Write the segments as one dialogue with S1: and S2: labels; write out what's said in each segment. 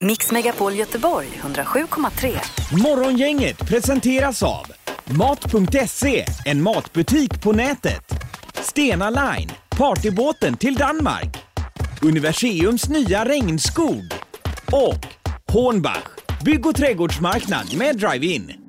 S1: Mix Megapol Göteborg 107,3.
S2: Morgongänget presenteras av Mat.se, en matbutik på nätet. Stena Line, partybåten till Danmark. Universiums nya regnskog. Och Hornbach, bygg och trädgårdsmarknad med drive-in.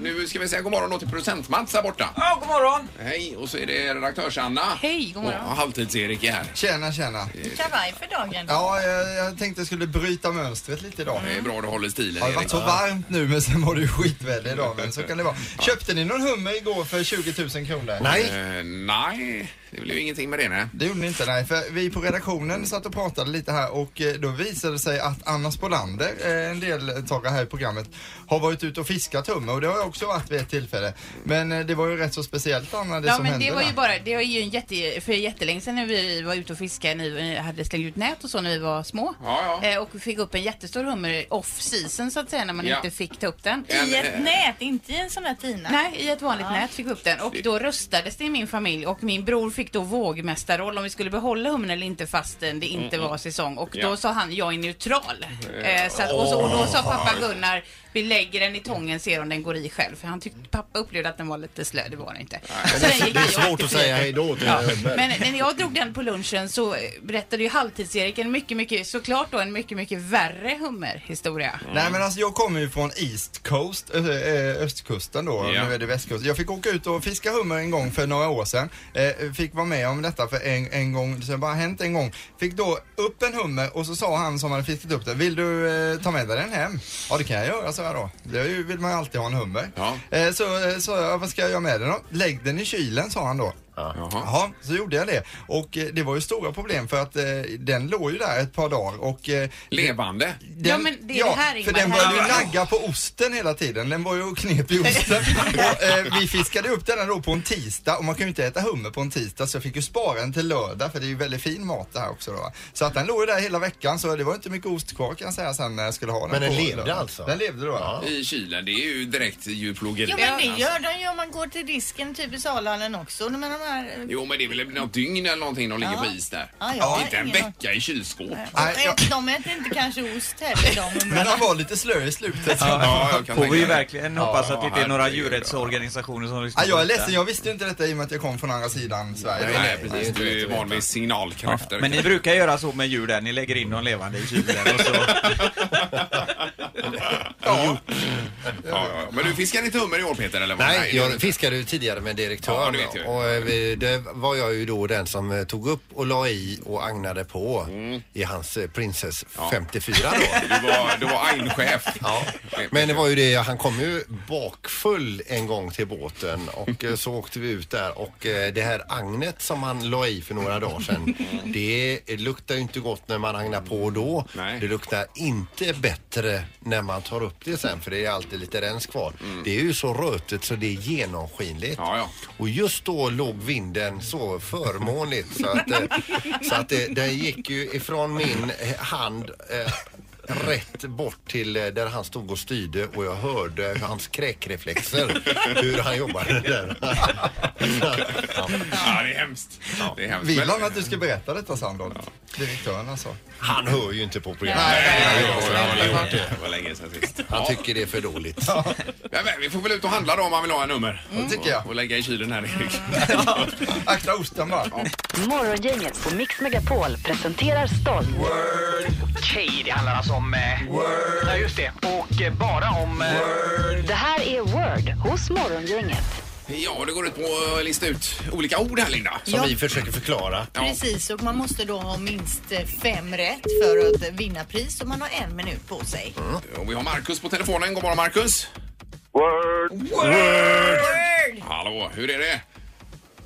S3: Nu ska vi säga god morgon då till producent-Mats där borta.
S2: Ja, god morgon!
S3: Hej, och så är det redaktörs-Anna.
S4: Hej, god morgon.
S3: Och halvtids-Erik är här.
S5: Tjena, tjena.
S4: Kavaj för dagen.
S5: Ja, jag, jag tänkte jag skulle bryta mönstret lite idag.
S6: Mm.
S3: Det är bra du håller stilen,
S5: Det har
S3: Erik.
S5: varit så varmt nu men sen var det ju skitväder idag men så
S6: Mm.
S5: kan det vara. Köpte ni någon hummer igår för 20 000 kronor? Nej.
S3: Eh, nej, det blev ingenting med det nej.
S5: Det gjorde ni inte nej för vi på redaktionen satt och pratade lite här och eh, då visade det sig att Anna Spolander, eh, en deltagare här i programmet, har varit ute och fiskat hummer och det har jag också varit vid ett tillfälle. Men eh, det var ju rätt så speciellt Anna det
S4: Ja
S5: som
S4: men
S5: hände
S4: det var
S5: där.
S4: ju bara, det var ju en jätte, för jättelänge sedan när vi var ute och fiskade, när vi hade slängt ut nät och så när vi var små.
S3: Ja, ja.
S4: Eh, Och vi fick upp en jättestor hummer off season så att säga, när man
S3: Ja.
S4: inte fick ta upp den.
S3: En,
S7: I ett
S3: eh,
S7: nät, inte i en sån där tina.
S4: Nej, i ett vanligt nät fick vi upp den och då röstades det i min familj och min bror fick då vågmästarroll om vi skulle behålla hummen eller inte fastän det inte var säsong och
S3: Ja.
S4: då sa han jag är neutral.
S6: Mm.
S4: Eh, så att, och, så, och då sa pappa Gunnar vi lägger den i tången ser om den går i själv för han tyckte pappa upplevde att den var lite slö, det var den inte. Så den gick
S6: Det
S4: i
S6: är
S4: och
S6: svårt
S4: åkte
S6: att säga
S4: fri.
S6: hej då till
S4: Ja,
S6: Hörberg.
S4: men när jag drog den på lunchen så eh, berättade ju halvtids-Erik en mycket, mycket, såklart då en mycket, mycket värre hummerhistoria.
S3: Mm.
S5: Nej men alltså jag kommer ju från East Coast, ö- ö- östkusten då,
S3: Ja.
S5: nu är det västkusten. Jag fick åka ut och fiska hummer en gång för några år sedan. Eh, fick vara med om detta för en, en gång, det har bara hänt en gång. Fick då upp en hummer och så sa han som hade fiskat upp den, vill du eh, ta med dig den hem? Ja det kan jag göra, sa jag då. Det är ju- vill man ju alltid ha en hummer.
S3: Ja.
S5: Eh, så eh, sa jag, vad ska jag göra med den då? Lägg den i kylen, sa han då.
S3: Jaha.
S5: Jaha, så gjorde jag det. Och eh, det var ju stora problem för att eh, den låg ju där ett par dagar och eh,
S3: Levande.
S5: den,
S4: Ja, men det är det här,
S5: för
S4: Ingmar.
S5: den började ju
S4: Här-
S5: nagga på osten hela tiden. Den var ju och knep i osten. och, eh, vi fiskade upp den här då på en tisdag och man kan ju inte äta hummer på en tisdag så jag fick ju spara den till lördag för det är ju väldigt fin mat det här också då. va. Så att den låg ju där hela veckan så det var inte mycket ost kvar kan jag säga sen när jag skulle ha den
S6: Men den
S5: på
S6: levde
S5: lördag.
S6: alltså?
S5: Den levde då. Ja.
S3: I kylen, det är ju direkt djurplågeri. Alltså,
S7: Jo men det gör de ju om man går till disken typ i Salhallen också. Men de här...
S3: Jo, men det är väl något dygn eller någonting de ligger på is där.
S7: Ja, jag har
S3: Inte en
S7: ingen aning.
S3: vecka i kylskåp.
S5: Nej,
S7: Nej,
S5: jag-
S7: De äter inte kanske ost heller de.
S5: Men han var lite slö i slutet.
S3: Ja, jag kan
S8: Får
S3: tänka
S8: vi ju
S3: mig.
S8: verkligen hoppas att det inte är några
S3: herregud,
S8: djurrättsorganisationer som lyssnar
S5: Ja, jag är
S8: på detta.
S5: ledsen, jag visste ju inte detta i och med att jag kom från andra sidan Sverige.
S3: Nej, precis. Du är van vid signalkrafter.
S8: Men ni brukar göra så med djur där, ni lägger in dem levande i kylen och så.
S3: Ja. Ja, ja. Men du fiskar inte hummer i år Peter eller? vad?
S6: Nej, jag
S3: det-
S6: fiskade ju tidigare med
S3: Ja,
S6: direktören
S3: det vet jag.
S6: och eh, det var jag ju då den som eh, tog upp och la i och agnade på
S3: Mm.
S6: i hans eh, Princess 54 då.
S3: Du var, du var Ain-chef.
S6: Ja, men det var ju det, han kom ju bakfull en gång till båten och eh, så åkte vi ut där och eh, det här agnet som han la i för några dagar sedan
S3: Mm.
S6: det luktar ju inte gott när man agnar på då.
S3: Nej.
S6: Det luktar inte bättre när man tar upp det sen för det är alltid lite rens kvar.
S3: Mm.
S6: Det är ju så rötet så det är genomskinligt.
S3: Ja, ja.
S6: Och just då låg vinden så förmånligt så att, eh, så att det, den gick ju ifrån min eh, hand eh, rätt bort till eh, där han stod och styrde och jag hörde hans kräkreflexer hur han jobbade där. Ja.
S3: Ja, det är hemskt. Det är hemskt.
S5: Vill han
S3: Men-
S5: att du ska berätta detta Sandholt? Direktören alltså.
S6: Han hör ju inte på programmet.
S3: Nej, det var- det var- det var länge sedan sist.
S6: Han tycker det är för dåligt.
S3: Ja, men vi får väl ut och handla då om man vill ha en nummer.
S6: Mm.
S5: Det tycker jag.
S3: Och, och lägga i kylen här Erik.
S5: Akta osten bara.
S1: Morgongänget på Mix Megapol presenterar stolt.
S9: Okej, det handlar alltså om... Eh, Word. Ja, just det. Och eh, bara om... Eh,
S1: Det här är Word hos Morgongänget.
S3: Ja, det går ut på att lista ut olika ord här Linda.
S6: Som vi försöker förklara.
S7: Precis, och man måste då ha minst eh, fem rätt för att eh, vinna pris och man har en minut på sig.
S6: Mm.
S3: Och vi har Markus på telefonen. God morgon Markus.
S10: Word!
S7: Word!
S3: Hallå, hur är det?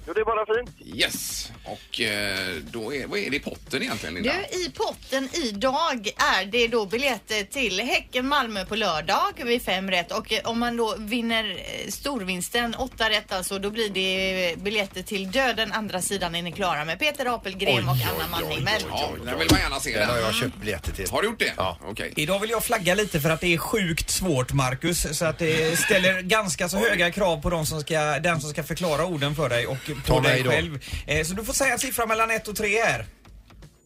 S10: Jo, det är bara fint.
S3: Yes. Och eh, då är, vad är det i potten egentligen Linda?
S7: Du, i potten idag är det då biljetter till Häcken-Malmö på lördag vid fem rätt och eh, om man då vinner eh, storvinsten, åtta rätt alltså, då blir det eh, biljetter till Döden andra sidan är ni klara med Peter Apelgren och Anna Manning. Men
S3: Ja, den vill man gärna se.
S6: Den har
S3: Den.
S6: jag köpt biljetter till.
S3: Har du gjort det?
S6: Ja.
S3: Okej.
S8: Idag vill jag flagga lite för att det är sjukt svårt Marcus, så att det ställer ganska så höga krav på de som ska, den som ska förklara orden för dig och på
S6: Ta mig
S8: dig
S6: då.
S8: själv. Eh, Så du får säga en siffra mellan 1 och 3 här.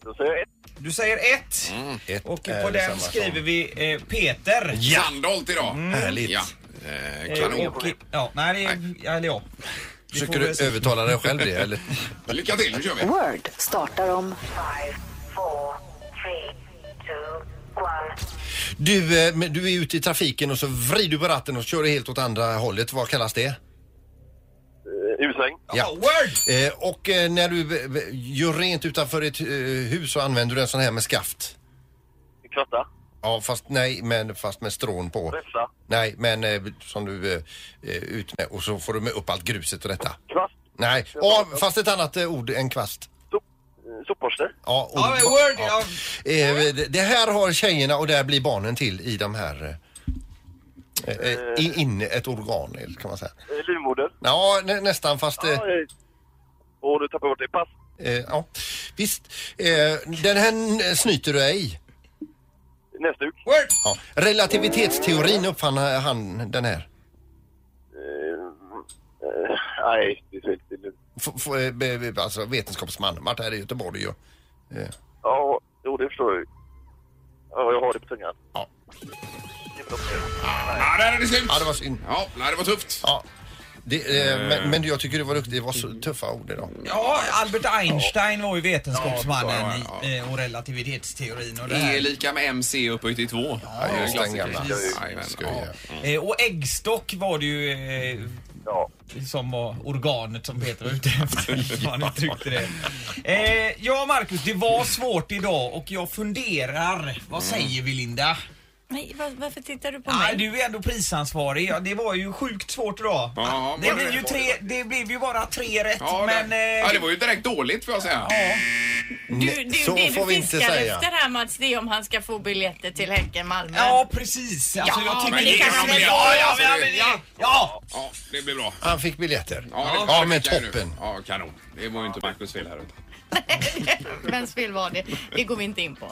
S10: Då säger jag ett.
S8: Du säger ett.
S6: Mm.
S8: Och
S6: Eh,
S8: på den skriver vi eh, Peter.
S3: Sandholt idag.
S6: Mm. Härligt.
S3: Ja. Eh, kanon.
S8: Eh, och, ja, nej, det är... Eller ja. Vi
S6: Försöker
S8: får
S6: du
S8: väl se.
S6: övertala dig själv det eller?
S3: Lycka till, nu kör
S6: Oh.
S3: vi.
S1: Word startar om
S6: Du, eh, men du är ute i trafiken och så vrider du på ratten och så kör du helt åt andra hållet. Vad kallas det?
S10: Eh, Usväng.
S6: Ja.
S8: Word!
S6: Eh, och eh, när du b- b- gör rent utanför ett eh, hus så använder du en sån här med skaft.
S10: Kvarta.
S6: Ja, fast nej, men fast med strån på.
S10: Räfsa.
S6: Nej, men eh, som du eh, eh, ut med och så får du med upp allt gruset och detta.
S10: Kvast.
S6: Nej, ja, fast ett annat eh, ord än kvast.
S10: Sop, eh, sopborste.
S6: Ja,
S8: Ja, men word, ja.
S6: Eh, det- Det här har tjejerna och där blir barnen till i de här... eh, eh, i- In ett organ, eller kan man säga.
S10: Eh, Livmoder.
S6: Ja, nä, nästan fast... eh,
S10: Ja, eh. Åh, nu tappar jag bort det. Pass.
S6: Eh, ja, visst. Eh, den här n- snyter du dig i.
S10: Näsduk.
S8: Word!
S6: Ja. Relativitetsteorin uppfann eh, han den här.
S10: Eh, eh, Nej, det är fel. Det är lugnt.
S6: F- f- eh, be- be- alltså vetenskapsman. Han Vart här i Göteborg ju.
S10: Ja, jo, det förstår jag ju. Ja, jag har det på tungan.
S6: Ja.
S10: Det är väl okej.
S3: Ja, där är det slut.
S6: Ja, det var synd.
S3: Ja, nej, det var tufft.
S6: Ja. Det, eh, men, men jag tycker du var duktig. Det var så tuffa ord idag.
S8: Ja, Albert Einstein var
S3: Ja,
S8: ju vetenskapsmannen
S3: ja,
S8: i, eh, och relativitetsteorin och det
S3: E
S8: här.
S3: lika med MC upphöjt till 2.
S6: Ja, just den gamla.
S3: Jajamän.
S6: Skoja.
S8: Eh, Och äggstock var det ju eh,
S10: Ja.
S8: som var organet som Peter var ute efter. hur Han uttryckte det. Eh, ja, Marcus, det var svårt idag och jag funderar. Vad
S3: Mm.
S8: säger vi, Linda?
S7: Nej, var, varför tittar du på
S8: Nej,
S7: mig?
S8: du är ändå prisansvarig. Ja, det var ju sjukt svårt idag.
S3: Ja,
S8: det,
S3: var
S8: blev
S3: det?
S8: ju tre, det blev ju bara tre rätt,
S3: Ja,
S8: men...
S3: det,
S8: eh,
S3: ja, det var ju direkt dåligt får jag säga.
S8: ja.
S7: Du, du,
S6: Så
S7: det
S6: får vi
S7: du
S6: inte
S7: fiskar
S6: säga.
S7: efter här Mats, det är om han ska få biljetter till Häcken Malmö.
S8: Ja, precis. Alltså,
S7: Ja,
S8: jag tycker
S7: men det kan
S8: är-
S7: man väl
S8: ja,
S3: göra,
S8: ja,
S3: alltså,
S8: ja,
S3: det-
S8: men, ja, ja.
S3: Ja, det blir bra.
S6: Han fick biljetter.
S3: det
S6: Ja,
S3: var det
S6: men
S3: fick jag ju nu.
S6: toppen.
S3: Ja, kanon. Det var ju inte Marcus fel här ute.
S7: Vems fel var det? Det går vi inte in på.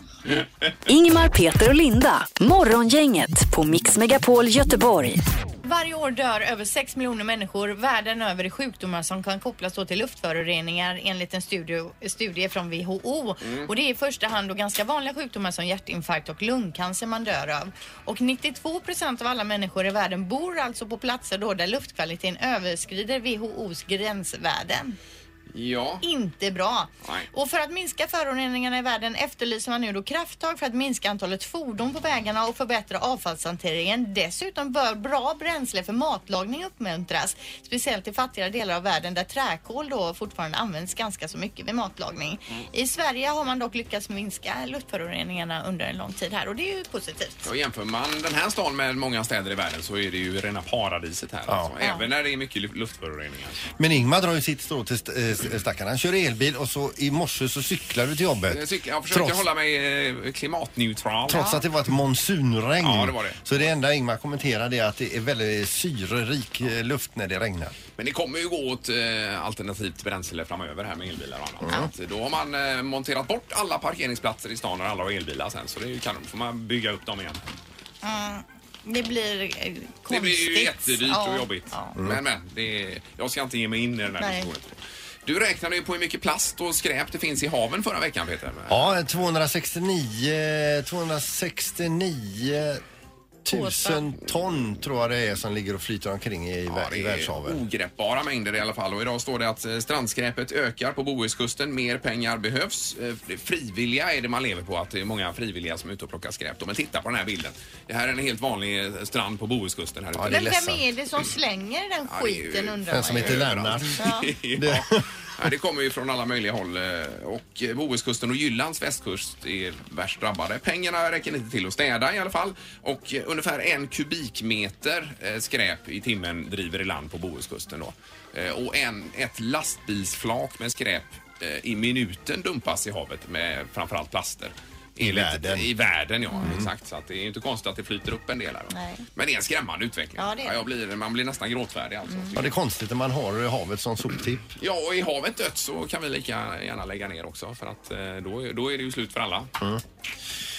S1: Ingmar, Peter och Linda. Morgongänget på Mix Megapol Göteborg.
S7: Varje år dör över 6 miljoner människor världen över i sjukdomar som kan kopplas då till luftföroreningar enligt en studio, studie från WHO. Och det är i första hand då ganska vanliga sjukdomar som hjärtinfarkt och lungcancer man dör av. Och 92 procent av alla människor i världen bor alltså på platser då där luftkvaliteten överskrider WHOs gränsvärden.
S3: Ja.
S7: Inte bra.
S3: Nej.
S7: Och för att minska föroreningarna i världen efterlyser man nu då krafttag för att minska antalet fordon på vägarna och förbättra avfallshanteringen. Dessutom bör bra bränsle för matlagning uppmuntras. Speciellt i fattigare delar av världen där träkol då fortfarande används ganska så mycket vid matlagning.
S3: Mm.
S7: I Sverige har man dock lyckats minska luftföroreningarna under en lång tid här och det är ju positivt.
S3: Och jämför man den här stan med många städer i världen så är det ju rena paradiset här. Alltså. Även när det är mycket lu- luftföroreningar.
S6: Men Ingmar drar ju sitt strå till st- eh, st- stackarna. Han kör elbil och så i morse så cyklar du till jobbet.
S3: Jag, cyklar, jag försöker
S6: Trots-
S3: hålla mig eh, klimatneutral.
S6: Trots att det var ett monsunregn.
S3: Ja, det var det.
S6: Så det enda Ingmar kommenterade är att det är väldigt syrerik eh, luft när det regnar.
S3: Men det kommer ju gå åt eh, alternativt bränsle framöver här med elbilar och
S7: Mm.
S3: annat. Så att Då har man eh, monterat bort alla parkeringsplatser i stan när alla har elbilar sen. Så det är ju kanon. får man bygga upp dem igen.
S7: Det blir eh, konstigt.
S3: Det blir ju jättedyrt
S7: Ja. Mm.
S3: och jobbigt. Men, men. Det är, jag ska inte ge mig in i den här
S7: Nej.
S3: diskussionen. Du räknade ju på hur mycket plast och skräp det finns i haven förra veckan, Peter.
S6: Ja, 269, 269 000 ton tror jag det är som ligger och flyter omkring i,
S3: Ja,
S6: vär- i
S3: det är
S6: världshaven.
S3: ogreppbara mängder i alla fall. Och idag står det att eh, strandskräpet ökar på Bohuskusten. Mer pengar behövs. Eh, det Frivilliga är det man lever på, att det är många frivilliga som är ute och plockar skräp. då. Men titta på den här bilden. Det här är en helt vanlig eh, strand på Bohuskusten här ute.
S6: Ja, det är
S7: Men vem
S6: ledsamt.
S7: är det som slänger den
S3: Ja, det är ju
S7: skiten undrar
S6: Den som
S7: man ju.
S6: heter Lennart.
S3: ja. Nej, det kommer ju från alla möjliga håll. eh, Och eh, Bohuskusten och Jyllands västkust är värst drabbade. Pengarna räcker inte till att städa i alla fall. Och eh, ungefär en kubikmeter eh, skräp i timmen driver i land på Bohuskusten. Då. Eh, Och en, ett lastbilsflak med skräp eh, i minuten dumpas i havet med framförallt plaster.
S6: I
S3: Enligt-
S6: världen.
S3: I världen, ja. Exakt. Så att det är ju inte konstigt att det flyter upp en del här. va?
S7: Mm. Nej.
S3: Men det är en skrämmande utveckling.
S7: Ja, det är det. Mm.
S3: jag blir, man blir nästan gråtfärdig alltså.
S6: Ja, det är konstigt när man har havet som soptipp.
S3: Ja, och är havet dött så kan vi lika gärna lägga ner också för att eh, då, är- då är det ju slut för alla. Ja,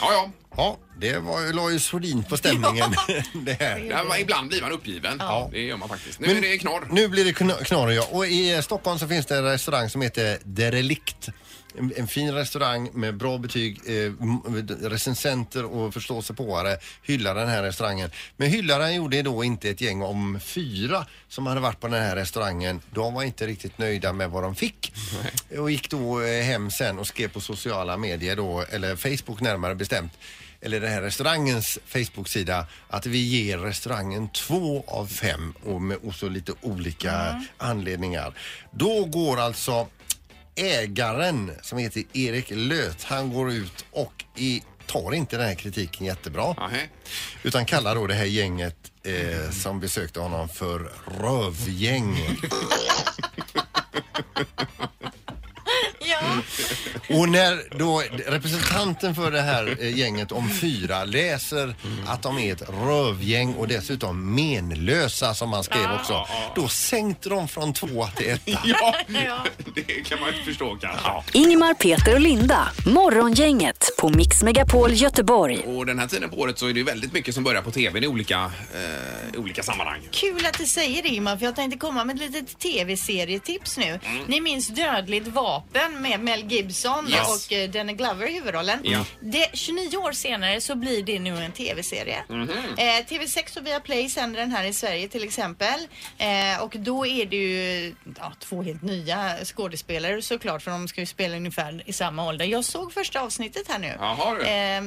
S3: ja.
S6: Ja, det var, ju- la ju sordin på stämningen. det här.
S3: Det här, var- ibland blir man uppgiven. Det gör man faktiskt. Nu är det knorr.
S6: Nu blir det knorr, ja. Och i eh, Stockholm så finns det en restaurang som heter Derelikt. en, en fin restaurang med bra betyg. Eh, m- recensenter och förståsigpåare hyllar den här restaurangen. Men hyllaren gjorde då inte ett gäng om fyra som hade varit på den här restaurangen. De var inte riktigt nöjda med vad de fick. Och gick då eh, hem sen och skrev på sociala medier då, eller Facebook närmare bestämt eller den här restaurangens Facebook-sida att vi ger restaurangen två av fem och med och så lite olika anledningar. Då går alltså ägaren som heter Erik Löt, han går ut och i, tar inte den här kritiken jättebra.
S3: Nähä.
S6: Utan kallar då det här gänget eh, som besökte honom för rövgäng.
S7: Ja.
S6: Och när då representanten för det här eh, gänget om fyra läser att de är ett rövgäng och dessutom menlösa som han skrev också. Då sänkte de från två till etta.
S3: Ja, det kan man inte förstå kanske.
S1: Ingmar, Peter och Linda. Morgongänget på Mix Megapol Göteborg.
S3: Och den här tiden på året så är det ju väldigt mycket som börjar på tvn i olika, eh, i olika sammanhang.
S7: Kul att du säger det Ingmar, för jag tänkte komma med ett litet tv-serietips nu.
S3: Mm.
S7: Ni minns Dödligt vapen med Mel Gibson
S3: Yes.
S7: och eh, Danny Glover i huvudrollen.
S3: Ja.
S7: Det, 29 år senare så blir det nu en tv-serie.
S3: Mhm.
S7: Eh, TV6 och Viaplay sänder den här i Sverige till exempel. Eh, och då är det ju ja, två helt nya skådespelare såklart, för de ska ju spela ungefär i samma ålder. Jag såg första avsnittet här nu.
S3: Jaha, du.
S7: Eh,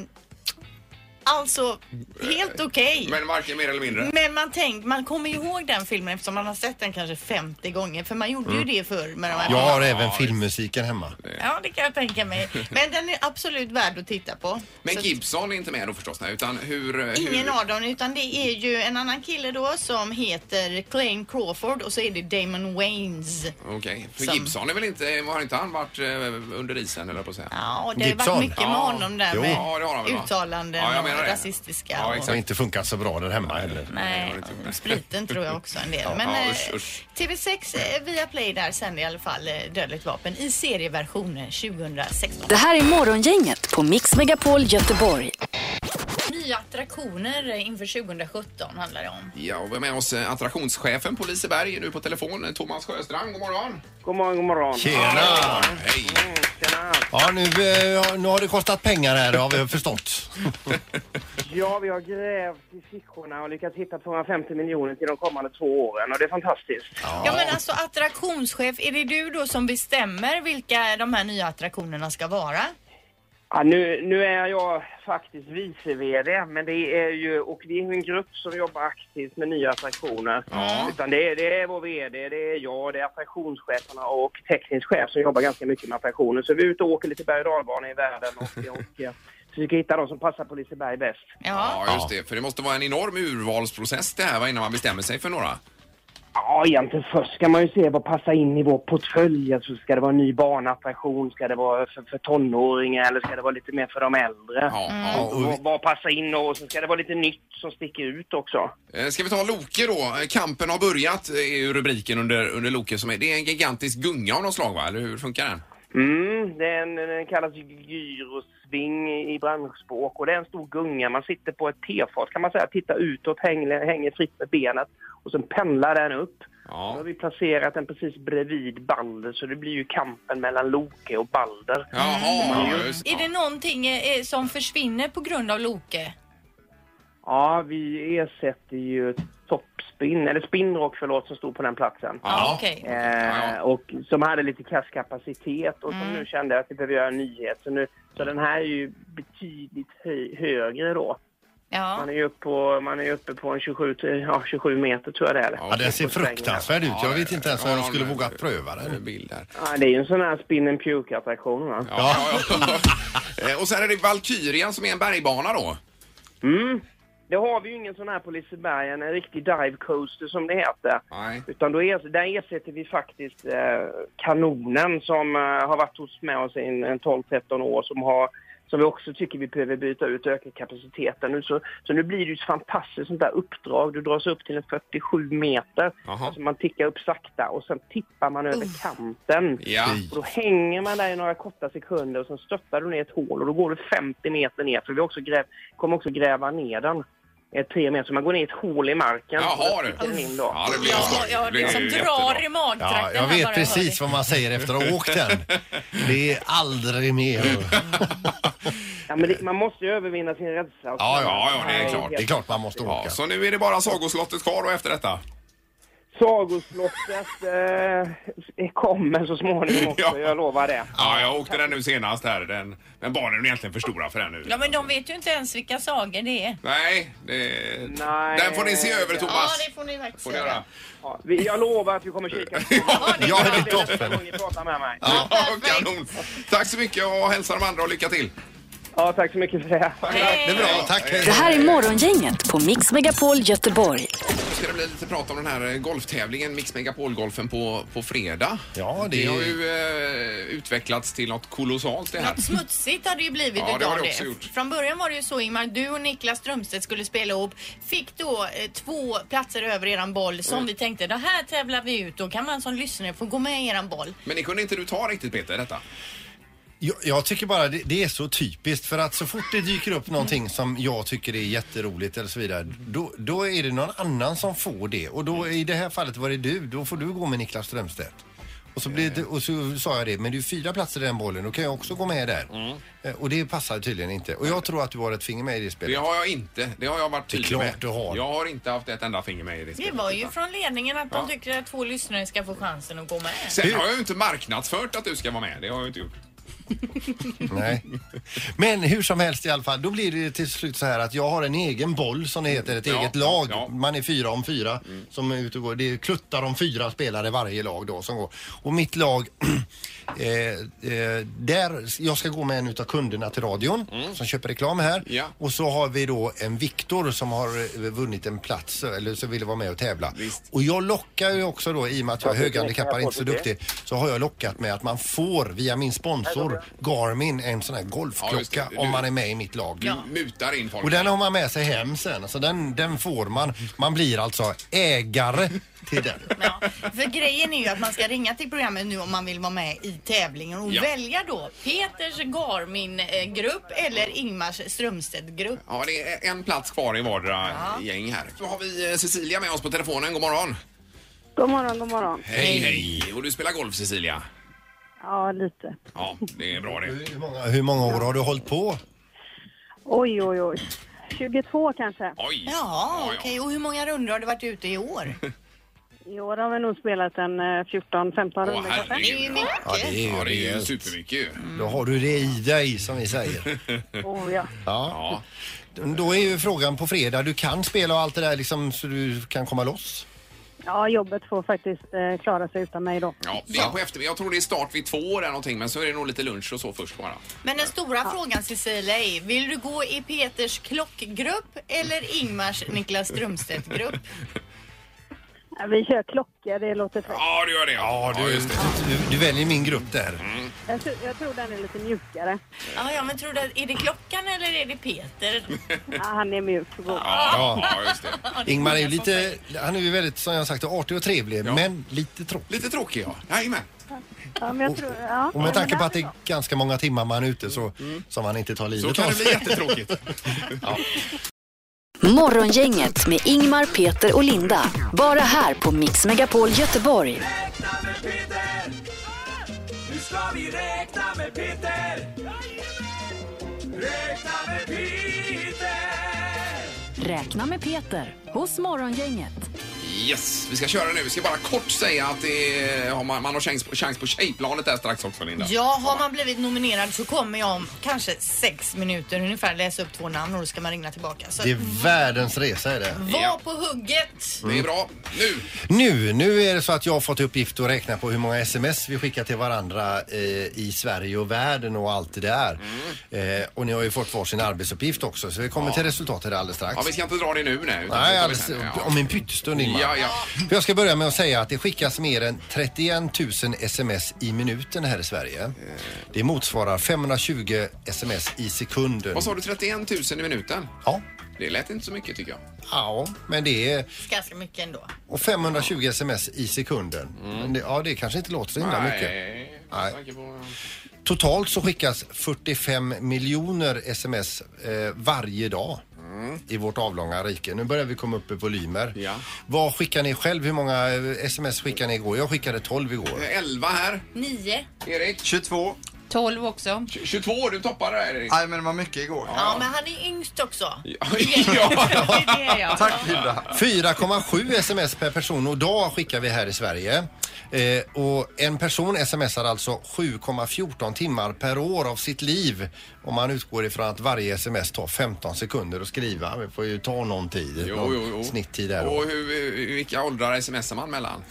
S7: alltså, helt okej.
S3: Men varken mer eller mindre.
S7: Men man, tänk, man kommer ju ihåg den filmen eftersom man har sett den kanske 50 gånger. För man gjorde
S3: Mm.
S7: ju det förr med de här
S6: Jag har
S7: filmerna.
S6: även filmmusiken hemma.
S7: Ja, det kan jag tänka mig. Men den är absolut värd att titta på.
S3: Men
S7: Så-
S3: Gibson är inte med då förstås, nej, utan hur...
S7: Ingen
S3: hur...
S7: av dem, utan det är ju en annan kille då som heter Clayne Crawford och så är det Damon Wayans.
S3: Okej, för
S7: Som-
S3: Gibson är väl inte... Har inte han varit eh, under isen eller på att säga?
S7: Ja, och det har
S6: Gibson?
S7: varit mycket med
S3: Ja.
S7: honom där
S6: Jo.
S7: med
S3: Ja, det har han väl, va?
S7: uttalanden
S3: Ja, jag menar
S7: och
S3: det.
S7: rasistiska.
S3: Ja,
S7: och-
S3: exakt.
S6: Som inte funkar så bra där hemma heller.
S7: Nej,
S3: det tror jag.
S7: spriten tror jag också en del.
S3: typ- Ja,
S7: Men
S3: ja,
S7: eh,
S3: usch, usch.
S7: TV6 eh, via Play där sänder i alla fall eh, Dödligt vapen i serieversionen 2016.
S1: Det här är Morgongänget på Mix Megapol Göteborg.
S7: Nya attraktioner eh, inför 2017 handlar det om.
S3: Ja, och vi har med oss eh, attraktionschefen på Liseberg nu på telefon, eh, Thomas Sjöstrand. God morgon!
S10: God morgon, god morgon.
S6: Tjena!
S3: Hej!
S10: Tjena.
S6: Ja, nu, eh, nu har det kostat pengar här, det har vi förstått.
S10: Ja, vi har grävt i fickorna och lyckats hitta 250 miljoner till de kommande två åren och det är fantastiskt.
S7: Ja. men alltså attraktionschef, är det du då som bestämmer vilka de här nya attraktionerna ska vara?
S10: Ja, nu, nu är jag faktiskt vice VD, men det är ju, och det är ju en grupp som jobbar aktivt med nya attraktioner. Utan det, är- det är vår VD, det är jag, det är attraktionscheferna och teknisk chef som jobbar ganska mycket med attraktioner. Så vi är ute och åker lite berg och dalbana i världen och, och eh, försöker hitta de som passar på Liseberg bäst.
S7: Ja.
S3: Ja, just det. För det måste vara en enorm urvalsprocess det här va, innan man bestämmer sig för några.
S10: Ja, egentligen först ska man ju se vad passar in i vår portfölj. Alltså, ska det vara en ny barnattraktion? Ska det vara för, för tonåringar eller ska det vara lite mer för de äldre?
S3: Ja,
S6: Ja,
S3: ja.
S6: och vi-
S10: Vad, vad passar in och sen ska det vara lite nytt som sticker ut också.
S3: Eh, Ska vi ta Loke då? Eh, Kampen har börjat eh, är ju rubriken under, under Loke som är. Det är en gigantisk gunga av något slag va? Eller hur funkar den?
S10: Mm, den, den kallas gyrosving i branschspråk och det är en stor gunga. Man sitter på ett tefat kan man säga, tittar utåt, hänger, hänger fritt med benet och sen pendlar den upp.
S3: Ja.
S10: Då har vi placerat den precis bredvid Balder så det blir ju kampen mellan Loke och Balder.
S3: Jaha, ja, just
S7: Mm. Är det
S3: ja.
S7: någonting eh, som försvinner på grund av Loke?
S10: Ja, vi ersätter ju Topspin, eller Spinrock förlåt, som stod på den platsen.
S3: Ja.
S7: okej.
S3: Ja,
S10: Eh, och som hade lite kasskapacitet och som
S11: Mm.
S10: nu kände att vi behöver göra en nyhet. Så, nu, så den här är ju betydligt hö- högre då.
S7: Ja.
S10: Man är ju uppe på, man är ju uppe på en 27, ja, 27 meter tror jag det är.
S3: Ja.
S6: Ja, den ser fruktansvärd ut. Jag vet inte ens om jag skulle våga pröva
S3: Eh,
S6: den.
S3: Bild där.
S10: Ja, det är ju en sån här spin and puke-attraktion va?
S3: Ja, ja, ja. Eh, Och sen är det Valkyrian som är en bergbana då.
S10: Mm. Det har vi ju ingen sån här på Liseberg, en riktig dive coaster som det heter.
S3: Nej.
S10: Utan då er, där ersätter vi faktiskt eh, kanonen som eh, har varit hos med oss i en, en 12-13 år som, har, som vi också tycker vi behöver byta ut och öka kapaciteten. Nu, så, så nu blir det ju ett fantastiskt sånt där uppdrag. Du dras upp till en 47 meter.
S3: Jaha.
S10: Alltså man tickar upp sakta och sen tippar man över kanten.
S3: Ja.
S10: Och då hänger man där i några korta sekunder och sen stöttar du ner ett hål och då går du 50 meter ner för vi har också gräv, kommer också gräva ner den. eh, tre meter. Så man går ner i ett hål i marken.
S3: Jaha, du.
S10: Kommer in då.
S3: Ja, det blir
S7: Jag, jag
S3: blir
S7: liksom
S3: ju
S7: drar
S3: jättebra.
S7: i magtrakten
S6: Ja, jag
S7: här bara
S6: vet
S7: jag hör
S6: precis
S7: det.
S6: vad man säger efter att ha åkt den. Det är aldrig mer.
S10: Ja, men det, man måste ju övervinna sin rädsla.
S3: Ja, ja, ja, det är klart.
S6: Det är klart man måste
S3: Ja,
S6: åka.
S3: så nu är det bara sagoslottet kvar och efter detta.
S10: Sagoslottet eh, kommer så småningom också,
S3: Ja.
S10: jag lovar det.
S3: Ja, jag åkte den nu senast här. Den, men barnen är egentligen för stora för den nu.
S7: Ja men de vet ju inte ens vilka sagor det är.
S3: Nej, det...
S10: Nej.
S3: den får ni se över Thomas.
S7: Ja det får ni faktiskt
S3: får ni göra.
S7: göra.
S10: Ja, vi, jag lovar att vi kommer kika.
S7: Ja, det
S6: Ja,
S7: är
S6: det
S7: bra.
S6: är toppen.
S10: Ni pratar med mig.
S3: Ja, kanon. Tack så mycket och hälsa de andra och lycka till.
S10: Ja, tack så mycket för det.
S6: Det är bra, tack.
S1: Det här är Morgongänget på Mix Megapol Göteborg.
S3: Ska det bli lite prat om den här eh, golftävlingen Mix Megapol-golfen på, på fredag?
S6: Ja, det-
S3: det har ju eh, utvecklats till något kolossalt det här.
S7: Något smutsigt hade ju blivit
S3: Ja, det har
S7: utav
S3: det
S7: det.
S3: också gjort.
S7: Från början var det ju så Ingmar, du och Niklas Strömstedt skulle spela ihop. Fick då eh, två platser över eran boll som vi tänkte, det här tävlar vi ut. Då kan man som lyssnare få gå med i eran boll.
S3: Men det kunde inte du ta riktigt Peter, detta?
S6: Jag, jag tycker bara det, det är så typiskt för att så fort det dyker upp någonting som jag tycker är jätteroligt eller så vidare då, då är det någon annan som får det och då i det här fallet var det du, då får du gå med Niklas Strömstedt. Och så, blev det, och så sa jag det, men det är fyra platser i den bollen, då kan jag också gå med där. Eh, Och det passar tydligen inte. Och jag tror att du har ett finger med i det
S3: Det
S6: spelet.
S3: har jag inte. Det har jag varit
S6: Det är
S3: tydlig
S6: klart
S3: med.
S6: du har.
S3: Jag har inte haft ett enda finger med i det
S7: Det
S3: spelet,
S7: var ju
S3: utan-
S7: från ledningen att de tycker att två lyssnare ska få chansen att gå med.
S3: Sen har jag ju inte marknadsfört att du ska vara med. Det har jag ju inte gjort.
S6: Nej. Men hur som helst i alla fall, då blir det till slut så här att jag har en egen boll som det heter, ett
S3: Ja,
S6: eget lag.
S3: ja.
S6: Man är fyra om fyra som är ute och går. Det är kluttar om fyra spelare i varje lag då som går. Och mitt lag, eh, eh, där, jag ska gå med en utav kunderna till radion som köper reklam här.
S3: Mm. Ja.
S6: Och så har vi då en Viktor som har eh, vunnit en plats eller så ville vara med och tävla.
S3: Visst.
S6: Och jag lockar ju också då i och med att jag är höghandikappad, inte så duktig, så har jag lockat med att man får via min sponsor Garmin en sån här
S3: Ja, just det.
S6: golfklocka
S3: Du-
S6: om man är med i mitt lag.
S3: Du Mm. mutar in folk.
S6: Och den har man med sig hem sen, så den, den får man. Man blir alltså ägare till den.
S7: Ja, för grejen är ju att man ska ringa till programmet nu om man vill vara med i tävlingen och
S3: Ja.
S7: välja då Peters Garmin-grupp eller Ingmars Strömstedt-grupp.
S3: Ja, det är en plats kvar i vardera gäng här. Då har vi eh, Cecilia med oss på telefonen. God morgon!
S11: God morgon, god morgon.
S3: Hej, hej! Och du spelar golf Cecilia?
S11: Ja, lite.
S3: Ja, det är bra det.
S6: Hur många, hur många år har du hållit på?
S11: Oj, oj, oj. 22 kanske.
S3: Oj!
S7: Ja, okej. Och hur många runder har det varit ute i år?
S11: I år har vi nog spelat en eh, 14-15
S3: Åh,
S11: runder kanske.
S7: Det är Mm. ju
S3: herregud.
S6: Ja,
S7: mycket.
S6: det är ju,
S3: Ja, det är ju
S6: rejält.
S3: supermycket ju.
S6: Då har du det i dig som vi säger.
S11: Oh, ja.
S6: Ja.
S3: Ja.
S6: Då är ju frågan på fredag, du kan spela och allt det där liksom så du kan komma loss?
S11: ja, jobbet får faktiskt eh, klara sig utan mig då.
S3: Ja, det är på eftermiddag. Jag tror det är start vid två eller någonting, men så är det nog lite lunch och så först bara.
S7: Men den stora frågan Cecilia är, vill du gå i Peters klockgrupp eller Ingmars Niklas Strömstedt-grupp?
S11: Ja, Vi kör klocka, det låter fräckt.
S3: Ja, du gör det. Ja, du... just det.
S6: Du, du väljer min grupp där.
S11: Jag, tror- jag tror den är lite mjukare.
S7: Ja, ja, men tror du att, är det klockan eller är det Peter?
S11: Ja, han är mjuk och god.
S3: Ja, ja, just det.
S7: Ja, det är
S6: Ingmar är ju
S7: många som
S6: lite, han är ju väldigt som jag sagt artig och trevlig
S3: Ja.
S6: men lite tråkig.
S3: Lite tråkig, ja. Jajamän.
S11: Ja, men jag tror, ja.
S6: Och med tanke
S11: Ja, men
S6: på att det
S11: den
S6: är ganska många timmar man är ute så, som han inte tar
S3: Mm. Så
S6: livet
S3: kan
S6: av
S3: det bli
S6: sig.
S3: jättetråkigt.
S1: Morgongänget med Ingmar, Peter och Linda. Bara här på Mix Megapol Göteborg.
S2: Ah! Nu ska vi räkna med Peter! Räkna med Peter!
S1: Räkna med Peter hos Morgongänget.
S3: Yes, vi ska köra nu. Vi ska bara kort säga att det är, har man, man har chans, på- chans på Tjejplanet där strax också, Linda.
S7: Ja, har man blivit nominerad så kommer jag om kanske sex minuter ungefär läsa upp två namn och då ska man ringa tillbaka. Så
S6: Det är världens resa är det.
S7: var
S3: Ja.
S7: på hugget!
S3: Det är bra. Nu!
S6: Nu, nu är det så att jag har fått uppgift att räkna på hur många sms vi skickar till varandra eh, i Sverige och världen och allt det där.
S3: Mm.
S6: Eh, och ni har ju fått varsin arbetsuppgift också så vi kommer till resultatet alldeles strax.
S3: Ja, vi ska inte dra det nu. Nej,
S6: Nej,
S3: utan det tar vi
S6: alldeles,
S3: sen. Ja.
S6: om en pyttestund Ingmar.
S3: Ja, ja.
S6: För jag ska börja med att säga att det skickas mer än 31 000 sms i minuten här i Sverige. Det motsvarar 520 sms i sekunden.
S3: Vad sa du, 31 000 i minuten?
S6: Ja,
S3: Det lät inte så mycket tycker jag.
S6: ja men det är...
S7: Ganska mycket ändå.
S6: Och 520 sms i sekunden. Men det, ja, det kanske inte låter så himla mycket.
S3: Mm. Nej.
S6: Nej.
S3: Tanke på-
S6: Totalt så skickas 45 miljoner sms eh, varje dag. i vårt avlånga rike. Nu börjar vi komma upp i volymer. Vad skickar ni själv? Hur många eh, sms skickar ni igår? Jag skickade 12 igår.
S3: 11 Eh, här.
S7: 9.
S3: Erik?
S5: 22.
S4: 12 också.
S3: 22, du toppar det här Erik.
S5: Nej, men det var mycket igår.
S7: Ja, men han är yngst också.
S6: Ja.
S7: Det är jag.
S5: Tack Linda.
S6: 4,7 sms per person och dag skickar vi här i Sverige. Eh, och en person smsar alltså 7,14 timmar per år av sitt liv. Om man utgår ifrån att varje sms tar 15 sekunder att skriva. Det får ju ta någon tid.
S3: Jo,
S6: någon
S3: jo, jo.
S6: Snitttid där.
S3: Och hur, hur- vilka åldrar smsar man mellan?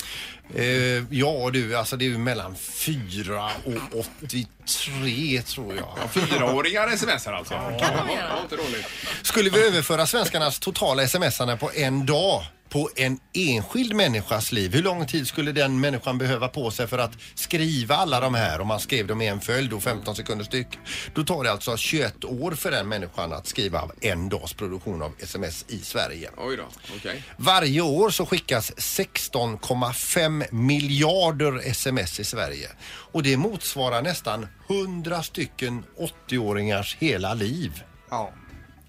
S6: Eh, ja du, alltså det är ju mellan 4 och 83 tror jag.
S3: Ja, fyraåringar smsar alltså. kan man göra. inte dåligt.
S6: Skulle vi överföra svenskarnas totala smsande på en dag på en enskild människas liv, hur lång tid skulle den människan behöva på sig för att skriva alla de här om man skrev dem i en följd och 15 sekunder styck? Då tar det alltså 21 år för den människan att skriva av en dags produktion av sms i Sverige.
S3: Oj då, okej.
S6: Varje år så skickas 16,5 miljarder sms i Sverige och det motsvarar nästan 100 stycken 80-åringars hela liv
S5: Ja.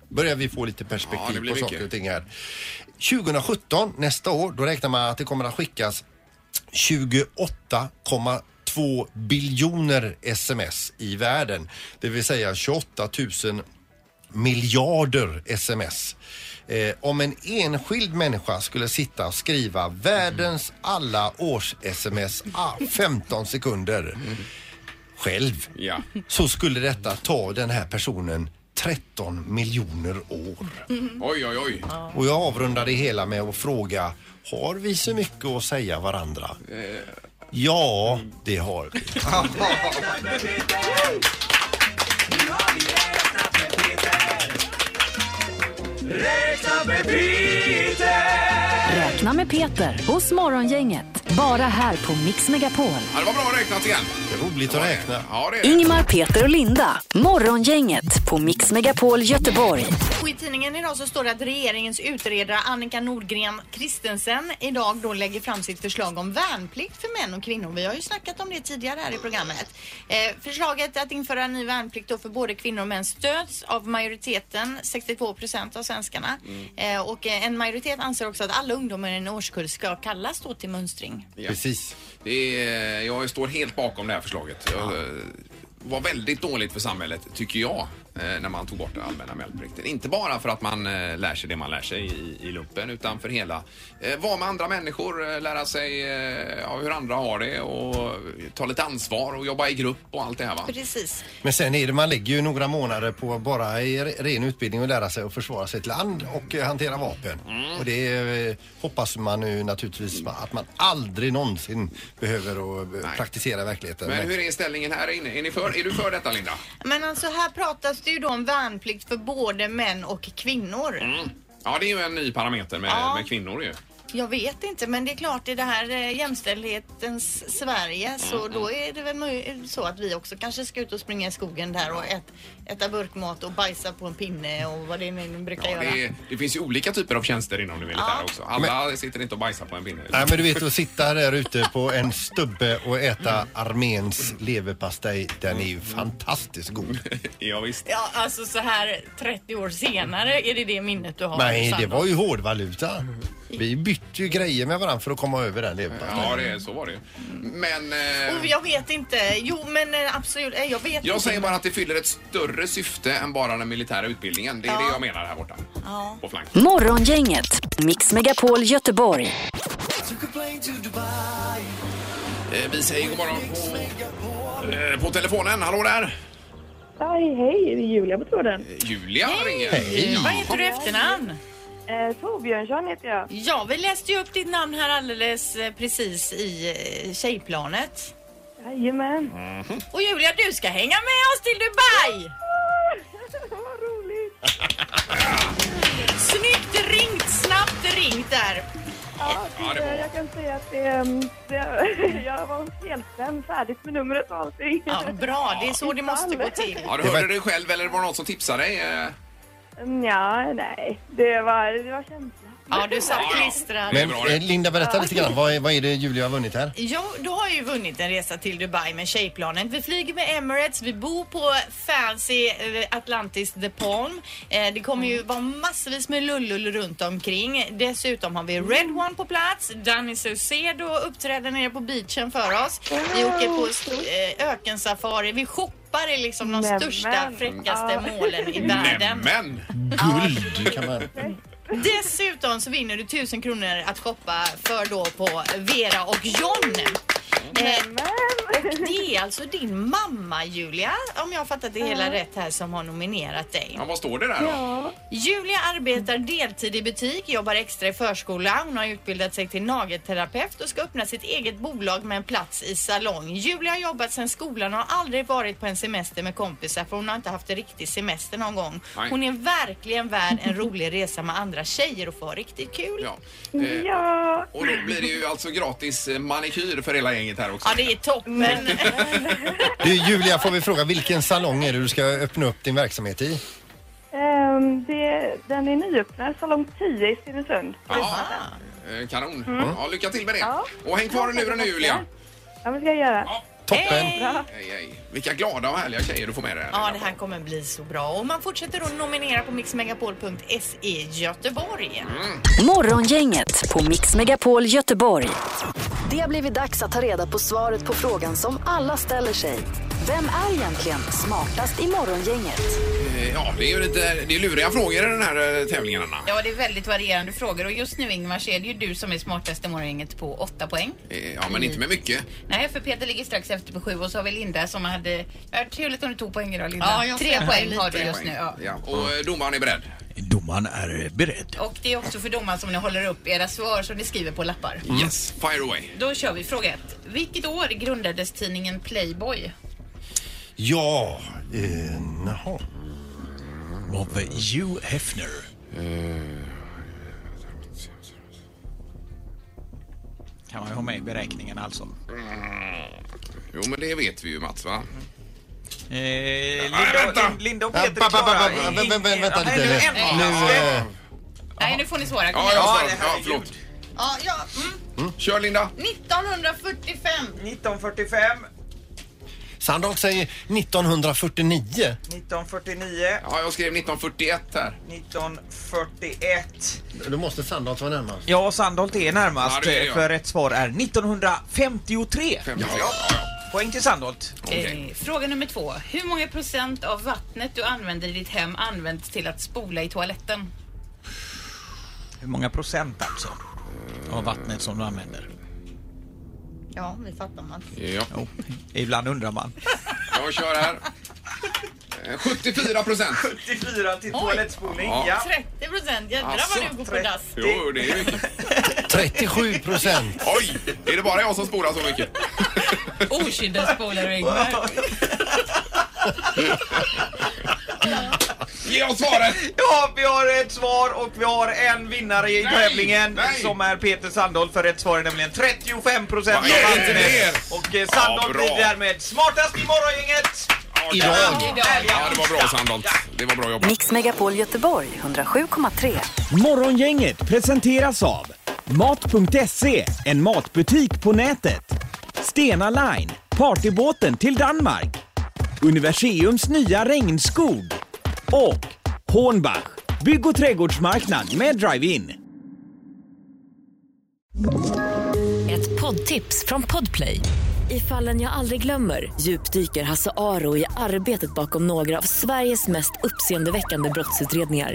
S6: börjar vi få lite
S3: Ja,
S6: perspektiv
S3: det blir
S6: på saker
S3: mycket.
S6: och ting här. 2017, nästa år, då räknar man att det kommer att skickas 28,2 biljoner sms i världen. Det vill säga 28 000 miljarder sms. Eh, om en enskild människa skulle sitta och skriva världens alla års-sms ah, 15 sekunder själv
S3: Ja.
S6: så skulle detta ta den här personen 13 miljoner år.
S3: Oj, oj, oj.
S6: Och jag avrundar det hela med att fråga har vi så mycket att säga varandra? Ja, det har vi.
S2: Räkna med Peter!
S1: Räkna med Peter hos Morgongänget. Bara här på Mix Megapol.
S3: Ja, det var bra räknat igen.
S6: Det är roligt att räkna.
S3: Ja, det är det.
S1: Ingmar, Peter och Linda. Morgongänget på Mix Megapol Göteborg.
S7: Och I tidningen idag så står det att regeringens utredare Annika Nordgren Christensen idag då lägger fram sitt förslag om värnplikt för män och kvinnor. Vi har ju snackat om det tidigare här i programmet. Eh, förslaget att införa en ny värnplikt då för både kvinnor och män stöds av majoriteten, 62 procent av svenskarna. Eh, och eh, en majoritet anser också att alla ungdomar i en årskull ska kallas då till mönstring.
S3: Ja.
S6: Precis.
S3: Det är, jag står helt bakom det här förslaget. Jag, eh, var väldigt dåligt för samhället, tycker jag, eh, när man tog bort den allmänna mältplikten. Inte bara för att man eh, lär sig det man lär sig i, i lumpen, utan för hela. Eh, Vara med andra människor, eh, lära sig eh, ja, hur andra har det och ta lite ansvar och jobba i grupp och allt det här va?
S7: Precis.
S6: Men sen är det, man lägger ju några månader på bara i re- ren utbildning och lära sig att försvara sitt land och eh, hantera vapen. Och det eh, hoppas man ju naturligtvis ma- att man aldrig någonsin behöver att eh, praktisera i verkligheten.
S3: Men hur är ställningen här inne? Är, ni för, är du för detta Linda?
S7: Men alltså här pratas det ju då om värnplikt för både män och kvinnor.
S3: Ja, det är ju en ny parameter med,
S7: Ja.
S3: med kvinnor ju.
S7: Jag vet inte, men det är klart i det här eh, jämställdhetens Sverige
S3: Mm,
S7: så då är det väl möj- så att vi också kanske ska ut och springa i skogen där och ät, äta burkmat och bajsa på en pinne och vad det nu brukar
S3: Ja,
S7: göra.
S3: det, är- det finns ju olika typer av tjänster inom det militära också. Alla sitter inte och bajsar på en pinne.
S6: Nej men du vet att sitta där ute på en stubbe och äta arméns leverpastej, den är ju
S3: Mm.
S6: fantastiskt god.
S3: Ja, visst.
S7: Ja, alltså så här 30 år senare är det det minnet du har.
S6: Nej, det
S7: Sandra?
S6: var ju hårdvaluta. Vi bytte ju grejer med varandra för att komma över den leverpastejen.
S3: Ja, det, är- så var det Men eh,
S7: Oh, jag vet inte. Jo, men eh, absolut. Eh, Jag vet
S3: jag
S7: inte.
S3: säger bara att det fyller ett större syfte än bara den militära utbildningen. Det är det jag menar här borta. På flanken.
S1: Morgongänget, Mix Megapol Göteborg.
S3: Eh, vi säger god morgon på, eh, på telefonen. Hallå där!
S11: Hej, hej, det är Julia på tråden.
S3: Eh, Julia ringer.
S7: Vad heter du i efternamn?
S11: Eh, Torbjörnsson heter jag.
S7: Ja, vi läste ju upp ditt namn här alldeles eh, precis i eh, tjejplanet.
S11: Jajamän.
S7: Och Julia, du ska hänga med oss till Dubai!
S11: Vad roligt.
S7: Snyggt ringt, snabbt ringt där.
S11: Ja,
S3: Ja, det var-
S11: det, jag kan säga att det, ehm, det, jag var helstämd färdigt med numret och allting.
S7: Ja, bra, det är så det måste gå till.
S3: Ja, du
S6: Det var-
S3: hörde det själv eller var det någon som tipsade dig? Eh,
S11: Nja, nej. Det var, det var känslan.
S7: Ja, du satt klistrad.
S6: Men eh, Linda, berätta lite grann. Vad är, vad är det Julia har vunnit här?
S7: Jo, du har ju vunnit en resa till Dubai med tjejplanet. Vi flyger med Emirates, vi bor på fancy eh, Atlantis The Palm. Eh, Det kommer ju vara massvis med lullul runt omkring. Dessutom har vi Red
S11: Mm.
S7: One på plats. Danny Saucedo uppträder nere på beachen för oss. Vi åker på eh, ökensafari. Vi shoppar i liksom de
S11: Nämen.
S7: största, fräckaste
S11: Ja.
S7: målen i världen.
S3: Nämen!
S6: Guld kan man...
S7: Dessutom så vinner du 1000 kronor att shoppa för då på Vera och John. Eh, och det är alltså din mamma Julia, om jag har fattat det hela rätt här, som har nominerat dig.
S3: Ja, vad står det där då?
S7: Julia arbetar deltid i butik, jobbar extra i förskola. Hon har utbildat sig till nagelterapeut och ska öppna sitt eget bolag med en plats i salong. Julia har jobbat sedan skolan och har aldrig varit på en semester med kompisar för hon har inte haft en riktig semester någon gång.
S3: Nej.
S7: Hon är verkligen värd en rolig resa med andra tjejer och få ha riktigt kul.
S3: Ja. Eh,
S11: Ja.
S3: Och då blir det ju alltså gratis eh, manikyr för hela gänget här också.
S7: Ja, det är toppen.
S6: Du, Julia, får vi fråga vilken salong är det du ska öppna upp din verksamhet i?
S11: Ehm, det, den är nyöppnad, salong 10 i Stenungsund.
S3: Ja. Eh, Kanon. Ja, lycka till med det. Och häng kvar i luren nu Julia.
S11: Ja, men ska jag göra.
S6: Toppen!
S3: Hej, hej. Vilka glada och härliga tjejer du får med dig. här,
S7: Ja, det
S3: Linda.
S7: här kommer bli så bra. Och man fortsätter att nominera på mixmegapol.se E Göteborg.
S1: Morgongänget på Mix Megapol Göteborg. Det har blivit dags att ta reda på svaret på frågan som alla ställer sig. Vem är egentligen smartast i morgongänget?
S3: Eh, Ja, det är ju lite det är luriga frågor i den här eh, tävlingen Anna.
S4: Ja, det är väldigt varierande frågor och just nu Ingmar så är det ju du som är smartast i morgongänget på åtta poäng.
S3: Eh, Ja, men inte med mycket.
S4: Nej, för Peter ligger strax efter på sju och så har vi Linda som hade... Ja, trevligt om du tog poäng idag Linda.
S7: Ja, jag
S4: Tre
S7: ser
S4: poäng
S7: lite.
S4: har du just
S3: Poäng.
S4: nu. Ja.
S3: Ja, och eh, domaren är beredd.
S8: Domaren är beredd.
S4: Och det är också för domaren som ni håller upp era svar som ni skriver på lappar.
S8: Mm.
S3: Yes, fire away.
S4: Då kör vi fråga ett. Vilket år grundades tidningen Playboy?
S6: Ja, eh, naha.
S8: Of Hugh Hefner. Eh, Kan man ju ha med i beräkningen alltså.
S3: Jo, men det vet vi ju Mats, va?
S8: Eh, Linda,
S3: vänta.
S8: Lin- Linda och
S6: Ja,
S8: Peter
S6: ba- ba- ba-
S8: klarar.
S6: ba- vä- vä- vä- Vänta
S8: Ja,
S6: lite.
S8: nej,
S6: Nu,
S8: en- en-
S6: nu, eh,
S4: Nej, nu får ni svara. Kom
S3: Ja,
S4: igen.
S3: ja,
S8: det
S3: ja,
S8: här är
S3: ja
S8: ju-
S3: förlåt.
S4: ja, ja. Mm.
S3: Kör Linda.
S4: 1945.
S8: 1945,
S6: Sandholt säger 1949.
S8: 1949,
S3: Ja, jag skrev 1941 här.
S8: 1941.
S6: Då måste Sandholt vara närmast.
S8: Ja, Sandholt är närmast
S3: Ja, det är jag.
S8: för rätt svar är 1953.
S3: 50. Ja, ja.
S8: Poäng till Sandholt.
S3: Okej.
S4: Eh, fråga nummer två. Hur många procent av vattnet du använder i ditt hem används till att spola i toaletten?
S8: Hur många procent alltså? Av vattnet som du använder.
S7: Ja, vi fattar man.
S3: ja.
S8: Jo, ibland undrar man.
S3: Jag kör här. Eh, 74 procent.
S8: 74 till toalettspolning,
S3: Ja. ja.
S7: 30 procent, jädrar
S3: Alltså,
S7: vad du går på dass.
S3: Jo, det är mycket.
S6: 37 procent.
S3: Oj! Är det bara jag som spolar så mycket?
S7: Oh,
S4: Okyddaspolar och Ingmar.
S3: Ge oss svaret!
S8: Ja, vi har ett svar och vi har en vinnare i
S3: Nej,
S8: tävlingen
S3: nej.
S8: som är Peter Sandholt för rätt svar är nämligen 35 procent av
S3: Vad är det inte
S8: vattnet.
S3: mer?
S8: Och eh,
S3: Ja,
S8: Sandholt
S3: bra.
S8: blir därmed smartast i morgongänget.
S6: Idag.
S3: Ja, det var bra Sandholt. Det var bra jobbat.
S1: Mix Megapol Göteborg 107,3.
S12: Morgongänget presenteras av Mat.se, en matbutik på nätet. Stena Line, partybåten till Danmark. Universiums nya regnskog. Och Hornbach, bygg och trädgårdsmarknad med drive-in.
S13: Ett poddtips från Podplay. I fallen jag aldrig glömmer djupdyker Hasse Aro i arbetet bakom några av Sveriges mest uppseendeväckande brottsutredningar.